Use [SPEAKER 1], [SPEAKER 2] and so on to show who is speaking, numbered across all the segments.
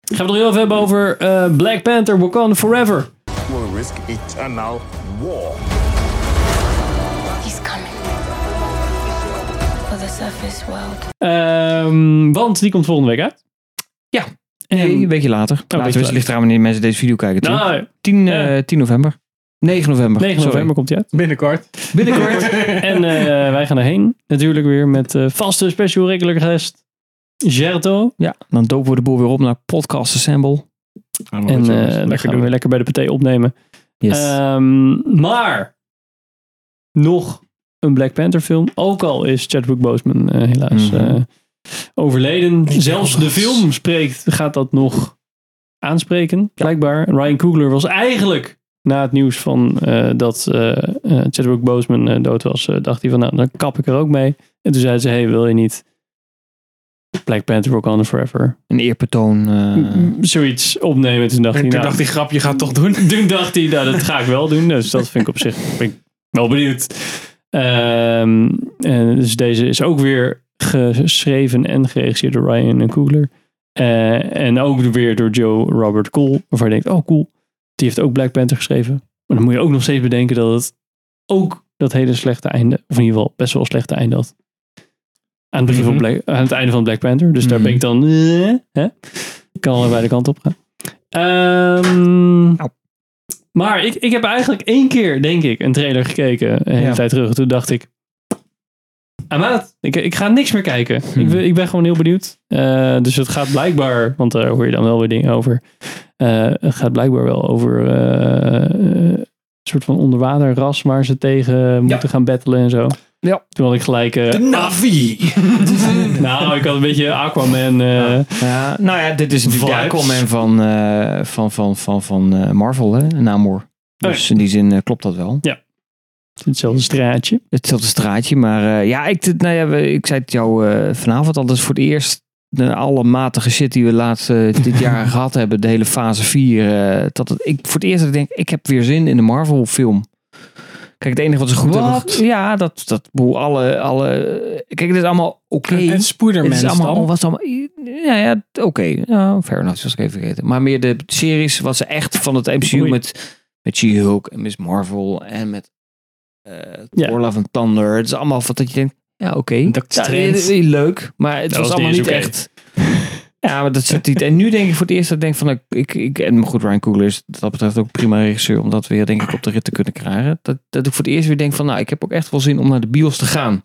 [SPEAKER 1] Gaan we het nog heel even hebben over eh, Black Panther Wakanda Forever.
[SPEAKER 2] will risk eternal war.
[SPEAKER 3] He's coming. For the surface world.
[SPEAKER 1] Ehm, want die komt volgende week uit.
[SPEAKER 4] Ja.
[SPEAKER 1] En,
[SPEAKER 4] een weekje later. later
[SPEAKER 1] beetje
[SPEAKER 4] is-
[SPEAKER 1] later.
[SPEAKER 4] ligt eraan wanneer mensen deze video kijken. toch?
[SPEAKER 1] nou,
[SPEAKER 4] 10,
[SPEAKER 1] Ja.
[SPEAKER 4] eh, 10 november. 9 november.
[SPEAKER 1] 9
[SPEAKER 4] sorry.
[SPEAKER 1] november komt hij uit.
[SPEAKER 5] Binnenkort.
[SPEAKER 4] Binnenkort.
[SPEAKER 1] En eh, wij gaan erheen. Natuurlijk weer met eh, vaste special regular guest Gerto.
[SPEAKER 4] ja, dan dopen we de boel weer op naar Podcast Assemble.
[SPEAKER 1] En eh, dan
[SPEAKER 5] lekker
[SPEAKER 1] gaan we
[SPEAKER 5] doen.
[SPEAKER 1] weer lekker bij de partij opnemen.
[SPEAKER 4] Yes.
[SPEAKER 1] Ehm, maar nog een Black Panther film. Ook al is Chadwick Boseman eh, helaas
[SPEAKER 4] Mhm.
[SPEAKER 1] eh, overleden.
[SPEAKER 5] Niet
[SPEAKER 1] Zelfs de
[SPEAKER 5] anders.
[SPEAKER 1] film spreekt, gaat dat nog aanspreken, blijkbaar. Ryan Coogler was eigenlijk na het nieuws van eh, dat eh, eh, Chadwick Boseman eh, dood was, eh, dacht hij van nou, dan kap ik er ook mee. En toen zei ze, hey, wil je niet Black Panther Wakanda Forever
[SPEAKER 4] een eerbetoon. eh
[SPEAKER 1] zoiets opnemen? Toen dacht
[SPEAKER 5] En
[SPEAKER 1] hij,
[SPEAKER 5] toen
[SPEAKER 1] nou,
[SPEAKER 5] dacht ik, grap, je gaat toch doen.
[SPEAKER 1] toen dacht hij, nou, dat ga ik wel doen. Dus dat vind ik op zich vind ik wel benieuwd. Ehm, en dus deze is ook weer geschreven en geregisseerd door Ryan en Coogler. Eh, en ook weer door Joe Robert Cole. Waarvan je denkt, oh cool, die heeft ook Black Panther geschreven. Maar dan moet je ook nog steeds bedenken dat het ook dat hele slechte einde, of in ieder geval best wel slechte einde had. Aan het, begin van
[SPEAKER 5] Mhm.
[SPEAKER 1] Black- aan het einde van Black Panther. Dus daar
[SPEAKER 4] Mhm.
[SPEAKER 1] ben ik dan... eh, hè? Kan allebei de kant op gaan. Ehm,
[SPEAKER 4] Au.
[SPEAKER 1] maar ik, ik heb eigenlijk één keer, denk ik, een trailer gekeken. Een hele
[SPEAKER 4] Ja.
[SPEAKER 1] tijd terug. Toen dacht ik... Amaat, ik, ik ga niks meer kijken.
[SPEAKER 4] Hmm.
[SPEAKER 1] Ik, ben- ik ben gewoon heel benieuwd. Eh, dus het gaat blijkbaar... Want daar hoor je dan wel weer dingen over. Eh, het gaat blijkbaar wel over... eh, eh, een soort van onderwaterras waar ze tegen moeten gaan battelen en zo.
[SPEAKER 4] Ja.
[SPEAKER 1] Toen had ik gelijk... eh,
[SPEAKER 5] De Navi.
[SPEAKER 1] nou, ik had een beetje Aquaman... eh,
[SPEAKER 4] ja, nou ja, dit is natuurlijk de
[SPEAKER 1] Vibes.
[SPEAKER 4] Aquaman van, eh, van, van, van, van eh, Marvel, hè? Namor. Dus in die zin eh, klopt dat wel.
[SPEAKER 1] Hetzelfde straatje.
[SPEAKER 4] Hetzelfde straatje, maar eh, ja, ik, dit- nou ja, we- ik zei het jou eh, vanavond al, dat is voor het eerst de alle matige shit die we laatst eh, dit jaar gehad hebben, de hele fase 4, eh, dat het, ik voor het eerst dat ik denk, ik heb weer zin in de Marvel film. Kijk, het enige wat ze goed
[SPEAKER 5] Wat?
[SPEAKER 4] hebben... Ja, dat, dat hoe alle, alle... Kijk, het is allemaal oké.
[SPEAKER 5] En Spider-Man
[SPEAKER 4] Het is allemaal,
[SPEAKER 5] dan.
[SPEAKER 4] was allemaal, ja, ja t- oké. Ja, fair enough, dat was ik even vergeten. Maar meer de series wat ze echt van het MCU
[SPEAKER 1] Oei.
[SPEAKER 4] met, met She-Hulk en Miss Marvel en met eh
[SPEAKER 1] Ja.
[SPEAKER 4] Thor Love and Thunder. Het is allemaal wat dat je denkt, ja, oké.
[SPEAKER 5] Doctor
[SPEAKER 4] Ja, heel-
[SPEAKER 5] Strange.
[SPEAKER 4] heel leuk, maar het
[SPEAKER 1] Dat
[SPEAKER 4] was,
[SPEAKER 1] was
[SPEAKER 4] allemaal
[SPEAKER 1] niet
[SPEAKER 4] niet
[SPEAKER 1] eens oké.
[SPEAKER 4] echt. Ja, maar dat zit niet. En nu denk ik voor het eerst dat ik denk van, nou, ik, ik, en goed, Ryan Coogler is wat dat betreft ook prima regisseur om dat weer denk ik op de rit te kunnen krijgen. Dat, dat ik voor het eerst weer denk van, nou, ik heb ook echt wel zin om naar de bios te gaan.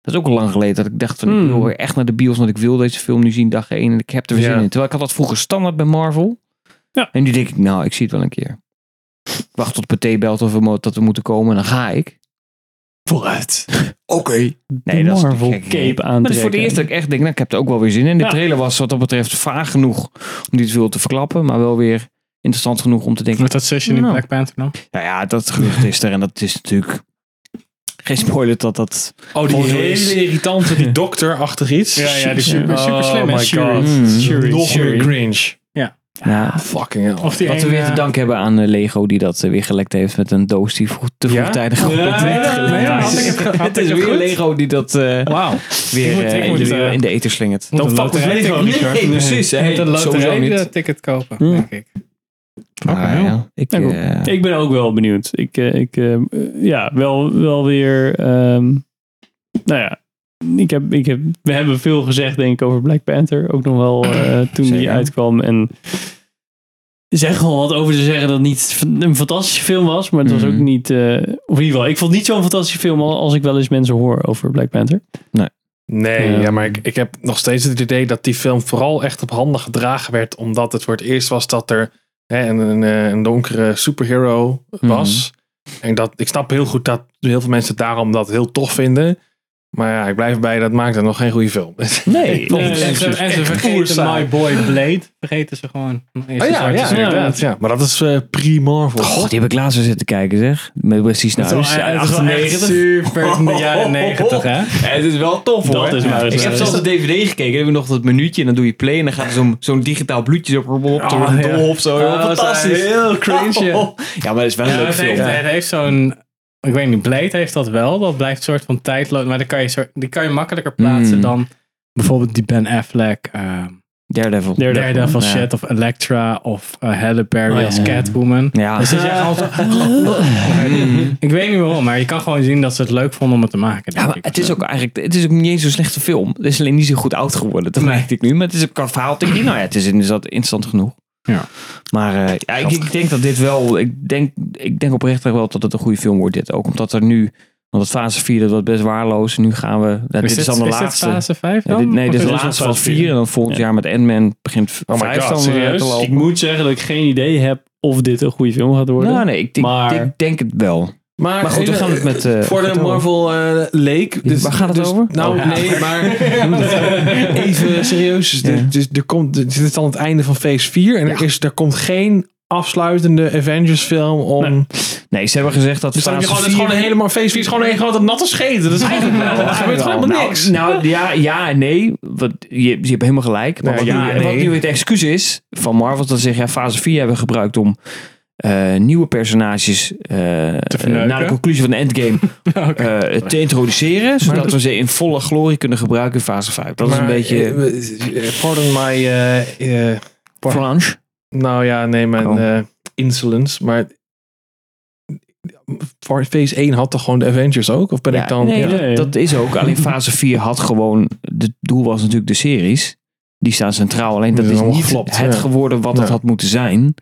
[SPEAKER 4] Dat is ook al lang geleden dat ik dacht van,
[SPEAKER 1] Hmm.
[SPEAKER 4] ik wil weer echt naar de bios, want ik wil deze film nu zien dag één en ik heb er weer
[SPEAKER 5] Ja.
[SPEAKER 4] zin in. Terwijl ik had dat vroeger standaard bij Marvel.
[SPEAKER 1] Ja.
[SPEAKER 4] En nu denk ik, nou, ik zie het wel een keer. Ik wacht tot Pathé belt of we, mo- dat we moeten komen en dan ga ik.
[SPEAKER 5] Vooruit.
[SPEAKER 4] Oké. Nee,
[SPEAKER 1] de
[SPEAKER 4] dat is natuurlijk
[SPEAKER 1] Marvel
[SPEAKER 4] gek, hè?
[SPEAKER 1] cape
[SPEAKER 4] Maar
[SPEAKER 1] aan
[SPEAKER 4] het is voor het eerst dat ik echt denk, nou, ik heb er ook wel weer zin in. De
[SPEAKER 1] Ja.
[SPEAKER 4] trailer was wat dat betreft vaag genoeg om dit veel te verklappen, maar wel weer interessant genoeg om te denken,
[SPEAKER 5] Met dat session in
[SPEAKER 4] Nou.
[SPEAKER 5] Black Panther dan.
[SPEAKER 4] nou ja, dat gerucht is er en dat is natuurlijk geen spoiler dat dat...
[SPEAKER 5] Oh, die
[SPEAKER 1] Oh, die
[SPEAKER 5] hele
[SPEAKER 1] hele
[SPEAKER 5] irritante, die dokterachtig iets.
[SPEAKER 1] Ja, ja, die
[SPEAKER 4] super-
[SPEAKER 1] super slim,
[SPEAKER 5] Oh
[SPEAKER 1] hè,
[SPEAKER 5] my
[SPEAKER 1] Shuri.
[SPEAKER 5] god.
[SPEAKER 4] Mm.
[SPEAKER 1] Shuri,
[SPEAKER 5] Nog
[SPEAKER 1] Shuri.
[SPEAKER 5] meer cringe.
[SPEAKER 4] Ja,
[SPEAKER 5] Fucking hell. Of die
[SPEAKER 4] wat we
[SPEAKER 5] ene-
[SPEAKER 4] weer te danken hebben aan eh, Lego die dat eh, weer gelekt heeft met een doos die vroeg, te
[SPEAKER 5] Ja?
[SPEAKER 4] vroegtijdig op
[SPEAKER 1] Ja,
[SPEAKER 4] werd weggelekt.
[SPEAKER 1] nee, had ik
[SPEAKER 5] het ge- had
[SPEAKER 4] Het
[SPEAKER 5] ik
[SPEAKER 4] is
[SPEAKER 5] het
[SPEAKER 4] weer
[SPEAKER 5] goed?
[SPEAKER 4] Lego die dat eh,
[SPEAKER 5] Wauw.
[SPEAKER 4] weer
[SPEAKER 5] moet- ik
[SPEAKER 4] eh, in,
[SPEAKER 5] moet,
[SPEAKER 4] de,
[SPEAKER 5] eh,
[SPEAKER 4] in de eter slingert.
[SPEAKER 5] Moet
[SPEAKER 1] Dan
[SPEAKER 5] een
[SPEAKER 1] fuck ik
[SPEAKER 5] loterij-
[SPEAKER 1] Lego, Richard.
[SPEAKER 4] Nee, precies, hè.
[SPEAKER 5] Je moet een
[SPEAKER 4] Sowieso
[SPEAKER 6] eh,
[SPEAKER 4] niet.
[SPEAKER 5] loterij-ticket kopen,
[SPEAKER 1] Ja.
[SPEAKER 5] denk ik.
[SPEAKER 4] Maar,
[SPEAKER 5] Fucking
[SPEAKER 4] Ah,
[SPEAKER 5] hell.
[SPEAKER 4] ja, ik,
[SPEAKER 1] Ja, goed.
[SPEAKER 4] eh,
[SPEAKER 1] Ik ben ook wel benieuwd. Ik, eh, ik eh, eh, ja, wel, wel weer. ehm, nou ja, ik heb, ik heb, we hebben veel gezegd, denk ik, over Black Panther. Ook nog wel eh, toen die
[SPEAKER 4] Zeker.
[SPEAKER 1] uitkwam. En er is echt wel wat over te zeggen dat het niet f- een fantastische film was. Maar het was
[SPEAKER 4] Mhm.
[SPEAKER 1] ook niet. eh, of in ieder geval, ik vond het niet zo'n fantastische film al- als ik wel eens mensen hoor over Black Panther.
[SPEAKER 5] Nee,
[SPEAKER 1] Ja.
[SPEAKER 5] ja, maar ik, ik heb nog steeds het idee dat die film vooral echt op handen gedragen werd. Omdat het voor het eerst was dat er hè, een, een, eh, een donkere superhero
[SPEAKER 4] hmm.
[SPEAKER 5] was. En dat, ik snap heel goed dat heel veel mensen daarom dat heel tof vinden. Maar ja, ik blijf bij dat maakt het nog geen goede film.
[SPEAKER 4] Nee,
[SPEAKER 1] Nee,
[SPEAKER 4] nee,
[SPEAKER 1] en ze-
[SPEAKER 4] precies.
[SPEAKER 5] en ze vergeten My
[SPEAKER 6] Boy Blade. Vergeten ze gewoon.
[SPEAKER 5] Oh ja, ja, inderdaad. Ja. Maar dat is eh, pre-Marvel.
[SPEAKER 4] Oh, die heb ik laatst weer zitten kijken, zeg. Met Wesley
[SPEAKER 5] dus
[SPEAKER 4] Snipes. Ja,
[SPEAKER 6] dat is wel echt
[SPEAKER 4] 98.
[SPEAKER 6] super in de jaren 90, hè?
[SPEAKER 4] Ja, het is wel tof, hoor.
[SPEAKER 1] Dat is waar.
[SPEAKER 4] ik heb zelfs de DVD gekeken. Hebben we nog dat minuutje en dan doe je play en dan gaat er zo'n zo'n digitaal bloedje zo op de
[SPEAKER 5] Oh, ja.
[SPEAKER 4] dol of zo.
[SPEAKER 6] Oh, dat is
[SPEAKER 4] Fantastisch.
[SPEAKER 6] heel cringe,
[SPEAKER 5] Oh.
[SPEAKER 6] ja.
[SPEAKER 4] Ja, maar het is wel een
[SPEAKER 6] Ja,
[SPEAKER 4] leuk
[SPEAKER 6] het
[SPEAKER 4] film.
[SPEAKER 6] heeft, het heeft zo'n... Ik weet niet, Blade heeft dat wel. Dat blijft soort van tijdloos. Maar dan kan je soort, die kan je makkelijker plaatsen
[SPEAKER 4] Mm.
[SPEAKER 6] dan bijvoorbeeld die Ben Affleck. eh,
[SPEAKER 1] Daredevil.
[SPEAKER 4] Daredevil.
[SPEAKER 6] Daredevil
[SPEAKER 4] Ja.
[SPEAKER 6] shit of Elektra of eh, Halle Berry
[SPEAKER 1] Oh, ja,
[SPEAKER 6] als
[SPEAKER 1] ja, ja.
[SPEAKER 6] Catwoman.
[SPEAKER 4] Ja.
[SPEAKER 6] Dus het is echt gewoon zo-
[SPEAKER 5] Ah.
[SPEAKER 6] Ik weet niet waarom, maar je kan gewoon zien dat ze het leuk vonden om het te
[SPEAKER 4] Ja,
[SPEAKER 6] maken. denk
[SPEAKER 4] maar
[SPEAKER 6] ik.
[SPEAKER 4] het is ook eigenlijk het is ook niet eens zo'n slechte film. Het is alleen niet zo goed oud geworden, dat
[SPEAKER 6] Nee.
[SPEAKER 4] merkte ik nu. Maar het is qua verhaal, denk ik, nou ja, het is inderdaad instant genoeg.
[SPEAKER 6] Ja.
[SPEAKER 4] Maar eh, ja, ik, ik denk dat dit wel, ik denk, ik denk oprecht echt wel dat het een goede film wordt dit. Ook omdat er nu, want het fase 4 dat was best waarloos. En nu gaan we, nou, dit is dan de laatste.
[SPEAKER 6] Dit fase 5
[SPEAKER 4] Ja,
[SPEAKER 6] dan?
[SPEAKER 4] dit- nee,
[SPEAKER 6] Of
[SPEAKER 4] dit is de
[SPEAKER 1] al
[SPEAKER 4] laatste van
[SPEAKER 1] fase vier.
[SPEAKER 4] vier. En dan volgend
[SPEAKER 1] Ja.
[SPEAKER 4] jaar met Ant-Man begint
[SPEAKER 5] my
[SPEAKER 4] vijf
[SPEAKER 5] God,
[SPEAKER 4] dan eh,
[SPEAKER 5] serieus?
[SPEAKER 4] te lopen.
[SPEAKER 1] Ik moet zeggen dat ik geen idee heb of dit een goede film gaat worden.
[SPEAKER 4] Nou, nee, ik, ik-
[SPEAKER 1] Maar-
[SPEAKER 4] ik denk het wel.
[SPEAKER 5] Maar,
[SPEAKER 4] Maar goed, we gaan het met, eh,
[SPEAKER 5] voor de
[SPEAKER 4] met over.
[SPEAKER 5] Marvel eh, leek. Dus,
[SPEAKER 4] Waar gaat het
[SPEAKER 5] dus-
[SPEAKER 4] over?
[SPEAKER 5] Nou,
[SPEAKER 1] Oh, ja.
[SPEAKER 5] nee, maar even serieus.
[SPEAKER 4] Ja.
[SPEAKER 5] Er- Dus er komt, dit is dan het einde van Phase 4 en er, is, er komt geen afsluitende Avengers film om...
[SPEAKER 4] Nee, ze hebben gezegd dat
[SPEAKER 5] Dus dan heb
[SPEAKER 4] fase
[SPEAKER 5] je gewoon, het is
[SPEAKER 4] 4
[SPEAKER 5] gewoon een helemaal Phase 4 is gewoon een grote natte scheet. Dat is eigenlijk wel. Er gebeurt gewoon helemaal
[SPEAKER 4] Nou,
[SPEAKER 5] niks.
[SPEAKER 4] Nou, ja, ja en nee. Want je, je hebt helemaal gelijk. Maar
[SPEAKER 5] Nee,
[SPEAKER 4] wat,
[SPEAKER 5] ja
[SPEAKER 4] nu,
[SPEAKER 5] en
[SPEAKER 4] wat
[SPEAKER 5] nee.
[SPEAKER 4] nu het excuus is van Marvel, dat ze zeggen, ja, fase 4 hebben we gebruikt om eh, nieuwe personages eh,
[SPEAKER 6] verneuken.
[SPEAKER 4] na de conclusie van de endgame eh, te introduceren. Zodat we ze in volle glorie kunnen gebruiken in fase 5. Dat is een
[SPEAKER 5] Maar,
[SPEAKER 4] beetje
[SPEAKER 5] eh, eh, Pardon my... eh, eh,
[SPEAKER 4] flange.
[SPEAKER 5] nou ja, nee, mijn
[SPEAKER 4] Oh.
[SPEAKER 5] eh, insolence. Maar voor Phase 1 had toch gewoon de Avengers ook? Of ben
[SPEAKER 4] Ja,
[SPEAKER 5] ik dan...
[SPEAKER 4] nee,
[SPEAKER 5] ja.
[SPEAKER 1] Ja, ja.
[SPEAKER 4] Dat, dat is ook. Alleen fase 4 had gewoon... Het doel was natuurlijk de series. Die staan centraal. Alleen dat
[SPEAKER 5] Dat
[SPEAKER 4] is
[SPEAKER 5] is
[SPEAKER 4] niet
[SPEAKER 5] ongeklopt,
[SPEAKER 4] het
[SPEAKER 5] ja.
[SPEAKER 4] geworden wat het
[SPEAKER 5] Ja.
[SPEAKER 4] had moeten zijn.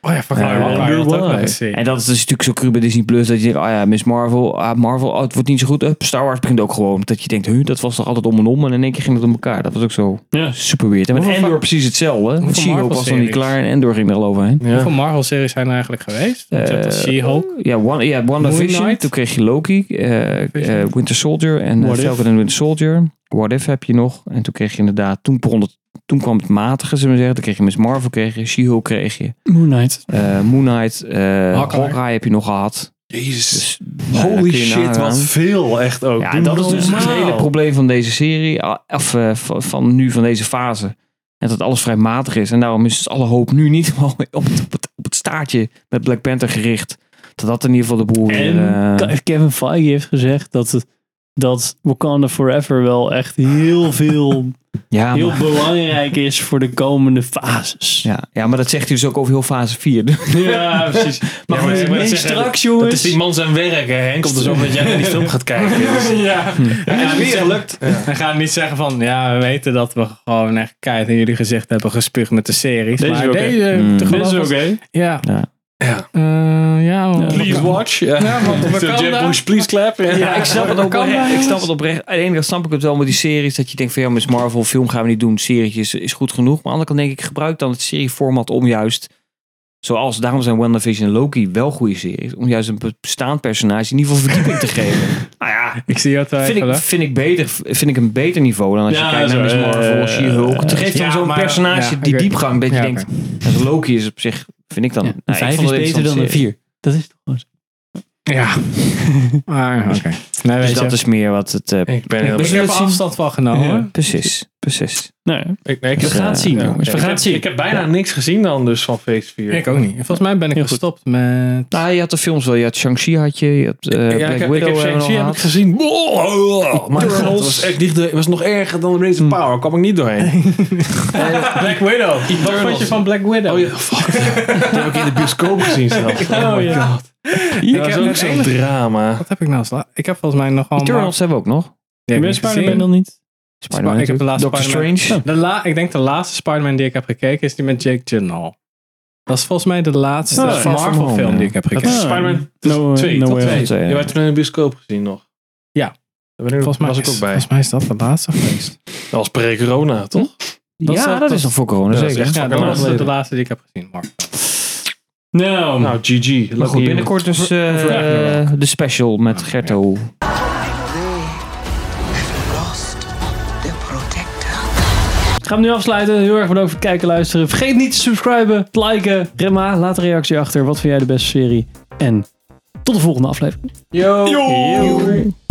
[SPEAKER 5] Oh ja, fuck.
[SPEAKER 4] Eh,
[SPEAKER 5] Iron Man.
[SPEAKER 1] Wonder
[SPEAKER 6] dat ook
[SPEAKER 1] Woman.
[SPEAKER 6] laten zien.
[SPEAKER 4] En dat is dus natuurlijk zo cru bij Disney Plus dat je denkt, ah ja, Miss Marvel, ah, Marvel, oh, het wordt niet zo goed. Eh, Star Wars begint ook gewoon. Dat je denkt, huh, dat was toch altijd om en om en in één keer ging het om elkaar. Dat was ook zo
[SPEAKER 1] Ja.
[SPEAKER 4] super weird. En met
[SPEAKER 6] Hoeveel
[SPEAKER 4] Endor
[SPEAKER 6] va-
[SPEAKER 4] precies hetzelfde.
[SPEAKER 6] hoeveel
[SPEAKER 4] She-Hulk was nog niet
[SPEAKER 6] Marvel-series?
[SPEAKER 4] klaar en Endor ging er al overheen.
[SPEAKER 5] Ja.
[SPEAKER 6] Hoeveel Marvel-series zijn er eigenlijk geweest? Want je had
[SPEAKER 4] Eh,
[SPEAKER 6] She-Hulk.
[SPEAKER 4] Ja, One, ja WandaVision,
[SPEAKER 6] Knight.
[SPEAKER 4] toen kreeg je Loki, eh, eh, Winter Soldier en eh,
[SPEAKER 1] What If.
[SPEAKER 4] Falcon en Winter Soldier. What If heb je nog. En toen kreeg je inderdaad, toen, begon het, toen kwam het matige, zullen we zeggen. Toen kreeg je Miss Marvel, kreeg je She-Hulk, kreeg je
[SPEAKER 1] Moon Knight.
[SPEAKER 4] eh, Moon Knight, eh
[SPEAKER 6] Hawkeye.
[SPEAKER 4] Hawkeye heb je nog gehad.
[SPEAKER 5] Jezus.
[SPEAKER 4] Dus, nou, daar kun je nagaan.
[SPEAKER 5] veel echt ook.
[SPEAKER 4] Ja, en dat is dus het
[SPEAKER 1] normaal.
[SPEAKER 4] hele probleem van deze serie, ah, of eh, van, van nu, van deze fase. En dat alles vrij matig is. En daarom is dus alle hoop nu niet op het, op het, op het staartje met Black Panther gericht. Dat dat in ieder geval de boel weer...
[SPEAKER 1] En
[SPEAKER 4] eh,
[SPEAKER 1] Ke- Kevin Feige heeft gezegd dat, het- dat Wakanda Forever wel echt heel veel
[SPEAKER 4] ja,
[SPEAKER 1] heel
[SPEAKER 4] maar,
[SPEAKER 1] belangrijk is voor de komende fases.
[SPEAKER 4] ja, ja, maar dat zegt hij dus ook over heel fase 4.
[SPEAKER 1] Ja, precies. Maar,
[SPEAKER 5] maar
[SPEAKER 1] goed,
[SPEAKER 5] ik wil
[SPEAKER 1] nee,
[SPEAKER 5] zeggen,
[SPEAKER 1] straks,
[SPEAKER 5] Het
[SPEAKER 1] jongens.
[SPEAKER 5] is die man zijn werk, hè, Henk. Op de zomer dat jij naar die film gaat kijken.
[SPEAKER 6] Ja.
[SPEAKER 5] Ja,
[SPEAKER 6] En
[SPEAKER 5] niet gelukt.
[SPEAKER 6] We gaan niet zeggen van, ja, we weten dat we gewoon echt keihard in jullie gezicht hebben gespuugd met de series.
[SPEAKER 1] Deze
[SPEAKER 6] maar
[SPEAKER 1] is oké.
[SPEAKER 6] deze,
[SPEAKER 4] Mm.
[SPEAKER 6] te
[SPEAKER 1] Dit is
[SPEAKER 6] geloven-
[SPEAKER 1] oké.
[SPEAKER 6] Ja.
[SPEAKER 4] Ja.
[SPEAKER 5] Ja.
[SPEAKER 6] Eh, ja, want-
[SPEAKER 5] Please watch.
[SPEAKER 6] Ja, want we
[SPEAKER 5] Zo,
[SPEAKER 6] kan
[SPEAKER 5] Jeb
[SPEAKER 6] daar-
[SPEAKER 5] Bush, please clap. Ja.
[SPEAKER 4] Ja, ik snap het
[SPEAKER 6] dat kan
[SPEAKER 4] oprecht.
[SPEAKER 6] wel,
[SPEAKER 4] Ik snap het oprecht. Aan de ene kant snap ik het wel met die series. Dat je denkt van ja, Miss Marvel, film gaan we niet doen. Serietjes is goed genoeg. Maar aan de andere kant denk ik, gebruik dan het serieformat om juist... Zoals, daarom zijn WandaVision en Loki wel goede series. Om juist een bestaand personage in ieder geval verdieping te geven. Nou ja,
[SPEAKER 6] Ik zie jou
[SPEAKER 4] vind
[SPEAKER 6] twijfelen.
[SPEAKER 4] ik, vind, ik beter, vind ik een beter niveau dan als je
[SPEAKER 1] Ja,
[SPEAKER 4] kijkt naar
[SPEAKER 1] zo,
[SPEAKER 4] Miss
[SPEAKER 1] eh,
[SPEAKER 4] Marvel,
[SPEAKER 1] eh,
[SPEAKER 4] She-Hulk. Het geeft dan
[SPEAKER 6] ja,
[SPEAKER 4] zo'n
[SPEAKER 6] maar-
[SPEAKER 4] personage
[SPEAKER 6] ja,
[SPEAKER 4] die
[SPEAKER 6] oké.
[SPEAKER 4] diepgang dat je
[SPEAKER 6] Ja,
[SPEAKER 4] denkt... Dus Loki is op zich, vind ik dan...
[SPEAKER 1] Ja,
[SPEAKER 4] nou,
[SPEAKER 1] een
[SPEAKER 4] ik
[SPEAKER 1] vijf
[SPEAKER 4] vond
[SPEAKER 1] is
[SPEAKER 4] het
[SPEAKER 1] beter dan
[SPEAKER 4] interessante
[SPEAKER 1] een
[SPEAKER 4] serie.
[SPEAKER 1] vier. Dat is toch gewoon zo.
[SPEAKER 6] Ja. Maar, oké. Nee, weet
[SPEAKER 4] Dus
[SPEAKER 6] je.
[SPEAKER 4] dat is meer wat het... eh,
[SPEAKER 5] Ik ben heel
[SPEAKER 6] Ik heb er afstand van genomen.
[SPEAKER 1] Ja.
[SPEAKER 4] Precies, precies.
[SPEAKER 1] Nou, ja.
[SPEAKER 5] Ik, nee, ik
[SPEAKER 1] we
[SPEAKER 5] heb,
[SPEAKER 4] Dus,
[SPEAKER 1] gaan het
[SPEAKER 4] eh,
[SPEAKER 1] zien,
[SPEAKER 4] ja.
[SPEAKER 1] jongens. We
[SPEAKER 5] ik
[SPEAKER 1] gaan
[SPEAKER 5] heb-
[SPEAKER 1] het zien.
[SPEAKER 5] ik heb bijna niks gezien dan dus van Phase 4.
[SPEAKER 6] Ik ook niet. Volgens mij ben ik
[SPEAKER 1] Heel goed.
[SPEAKER 6] gestopt met...
[SPEAKER 4] Nou, je had de films wel. Je had Shang-Chi had je. Je had eh,
[SPEAKER 5] ja,
[SPEAKER 4] Black
[SPEAKER 5] ik heb, ik
[SPEAKER 4] Widow hebben
[SPEAKER 5] heb
[SPEAKER 4] we
[SPEAKER 5] Shang-Chi
[SPEAKER 4] nog
[SPEAKER 5] heb
[SPEAKER 4] gehad.
[SPEAKER 5] ik gezien. Oh, mijn god,
[SPEAKER 4] Turtles.
[SPEAKER 5] dat was echt niet, de- was nog erger dan Race
[SPEAKER 6] Hm.
[SPEAKER 5] of Power. kwam ik niet doorheen. Eh,
[SPEAKER 6] Black Widow. Wat vond je van Black Widow?
[SPEAKER 5] Oh ja, fuck. dat heb ik in de bioscoop gezien zelfs. Oh my
[SPEAKER 1] ja.
[SPEAKER 5] god.
[SPEAKER 6] ik
[SPEAKER 5] Dat
[SPEAKER 6] heb
[SPEAKER 5] was ook
[SPEAKER 6] het
[SPEAKER 5] zo'n
[SPEAKER 6] enige-
[SPEAKER 5] drama.
[SPEAKER 6] Wat heb ik nou als la- Ik heb volgens mij nog wel... een
[SPEAKER 4] Eternals hebben we ook nog.
[SPEAKER 6] Mar-
[SPEAKER 1] Miss
[SPEAKER 6] die heb ik
[SPEAKER 1] Spider-Man
[SPEAKER 6] gezien.
[SPEAKER 1] dan niet?
[SPEAKER 4] Spider-Man
[SPEAKER 6] ik heb de
[SPEAKER 4] natuurlijk.
[SPEAKER 6] laatste
[SPEAKER 4] Doctor
[SPEAKER 6] Spider-Man.
[SPEAKER 4] Strange.
[SPEAKER 6] De la, ik denk de laatste Spider-Man die ik heb gekeken is die met Jake Gyllenhaal. Dat is volgens mij de laatste
[SPEAKER 1] Oh, ja.
[SPEAKER 4] Far From
[SPEAKER 6] Marvel
[SPEAKER 4] Home,
[SPEAKER 6] film
[SPEAKER 4] ja.
[SPEAKER 6] die ik heb
[SPEAKER 5] Dat
[SPEAKER 6] gekeken.
[SPEAKER 5] is
[SPEAKER 1] Ja.
[SPEAKER 5] Spider-Man
[SPEAKER 1] Ah, No, eh,
[SPEAKER 5] 2.
[SPEAKER 1] no
[SPEAKER 5] tot
[SPEAKER 1] way.
[SPEAKER 5] twee.
[SPEAKER 4] Tot twee, ja.
[SPEAKER 5] Je werd toen in de bioscoop gezien nog.
[SPEAKER 6] Ja.
[SPEAKER 5] Daar ben ik,
[SPEAKER 6] volgens mij
[SPEAKER 5] was ik
[SPEAKER 6] is-
[SPEAKER 5] ook bij.
[SPEAKER 6] Volgens mij is dat de laatste geweest.
[SPEAKER 5] Dat was pre-corona, toch?
[SPEAKER 1] Dat is-
[SPEAKER 4] ja, dat
[SPEAKER 1] dat
[SPEAKER 4] is
[SPEAKER 1] is-
[SPEAKER 4] nog voor corona,
[SPEAKER 5] Ja, dat is
[SPEAKER 4] zeker.
[SPEAKER 5] echt-
[SPEAKER 6] Ja, dat
[SPEAKER 5] fucking lang
[SPEAKER 6] was de,
[SPEAKER 5] geleden.
[SPEAKER 6] de laatste die ik heb gezien, Mark.
[SPEAKER 1] Nou,
[SPEAKER 5] Nou, GG.
[SPEAKER 4] Maar
[SPEAKER 5] Lucky
[SPEAKER 4] goed,
[SPEAKER 5] you.
[SPEAKER 4] binnenkort dus eh,
[SPEAKER 6] Over-
[SPEAKER 4] de special met Gerto.
[SPEAKER 3] Lost their protector.
[SPEAKER 1] ik ga hem nu afsluiten. Heel erg bedankt voor het kijken, luisteren. Vergeet niet te subscriben, te liken. Remma, laat een reactie achter. Wat vind jij de beste serie? En tot de volgende aflevering.
[SPEAKER 5] Yo.
[SPEAKER 1] Yo.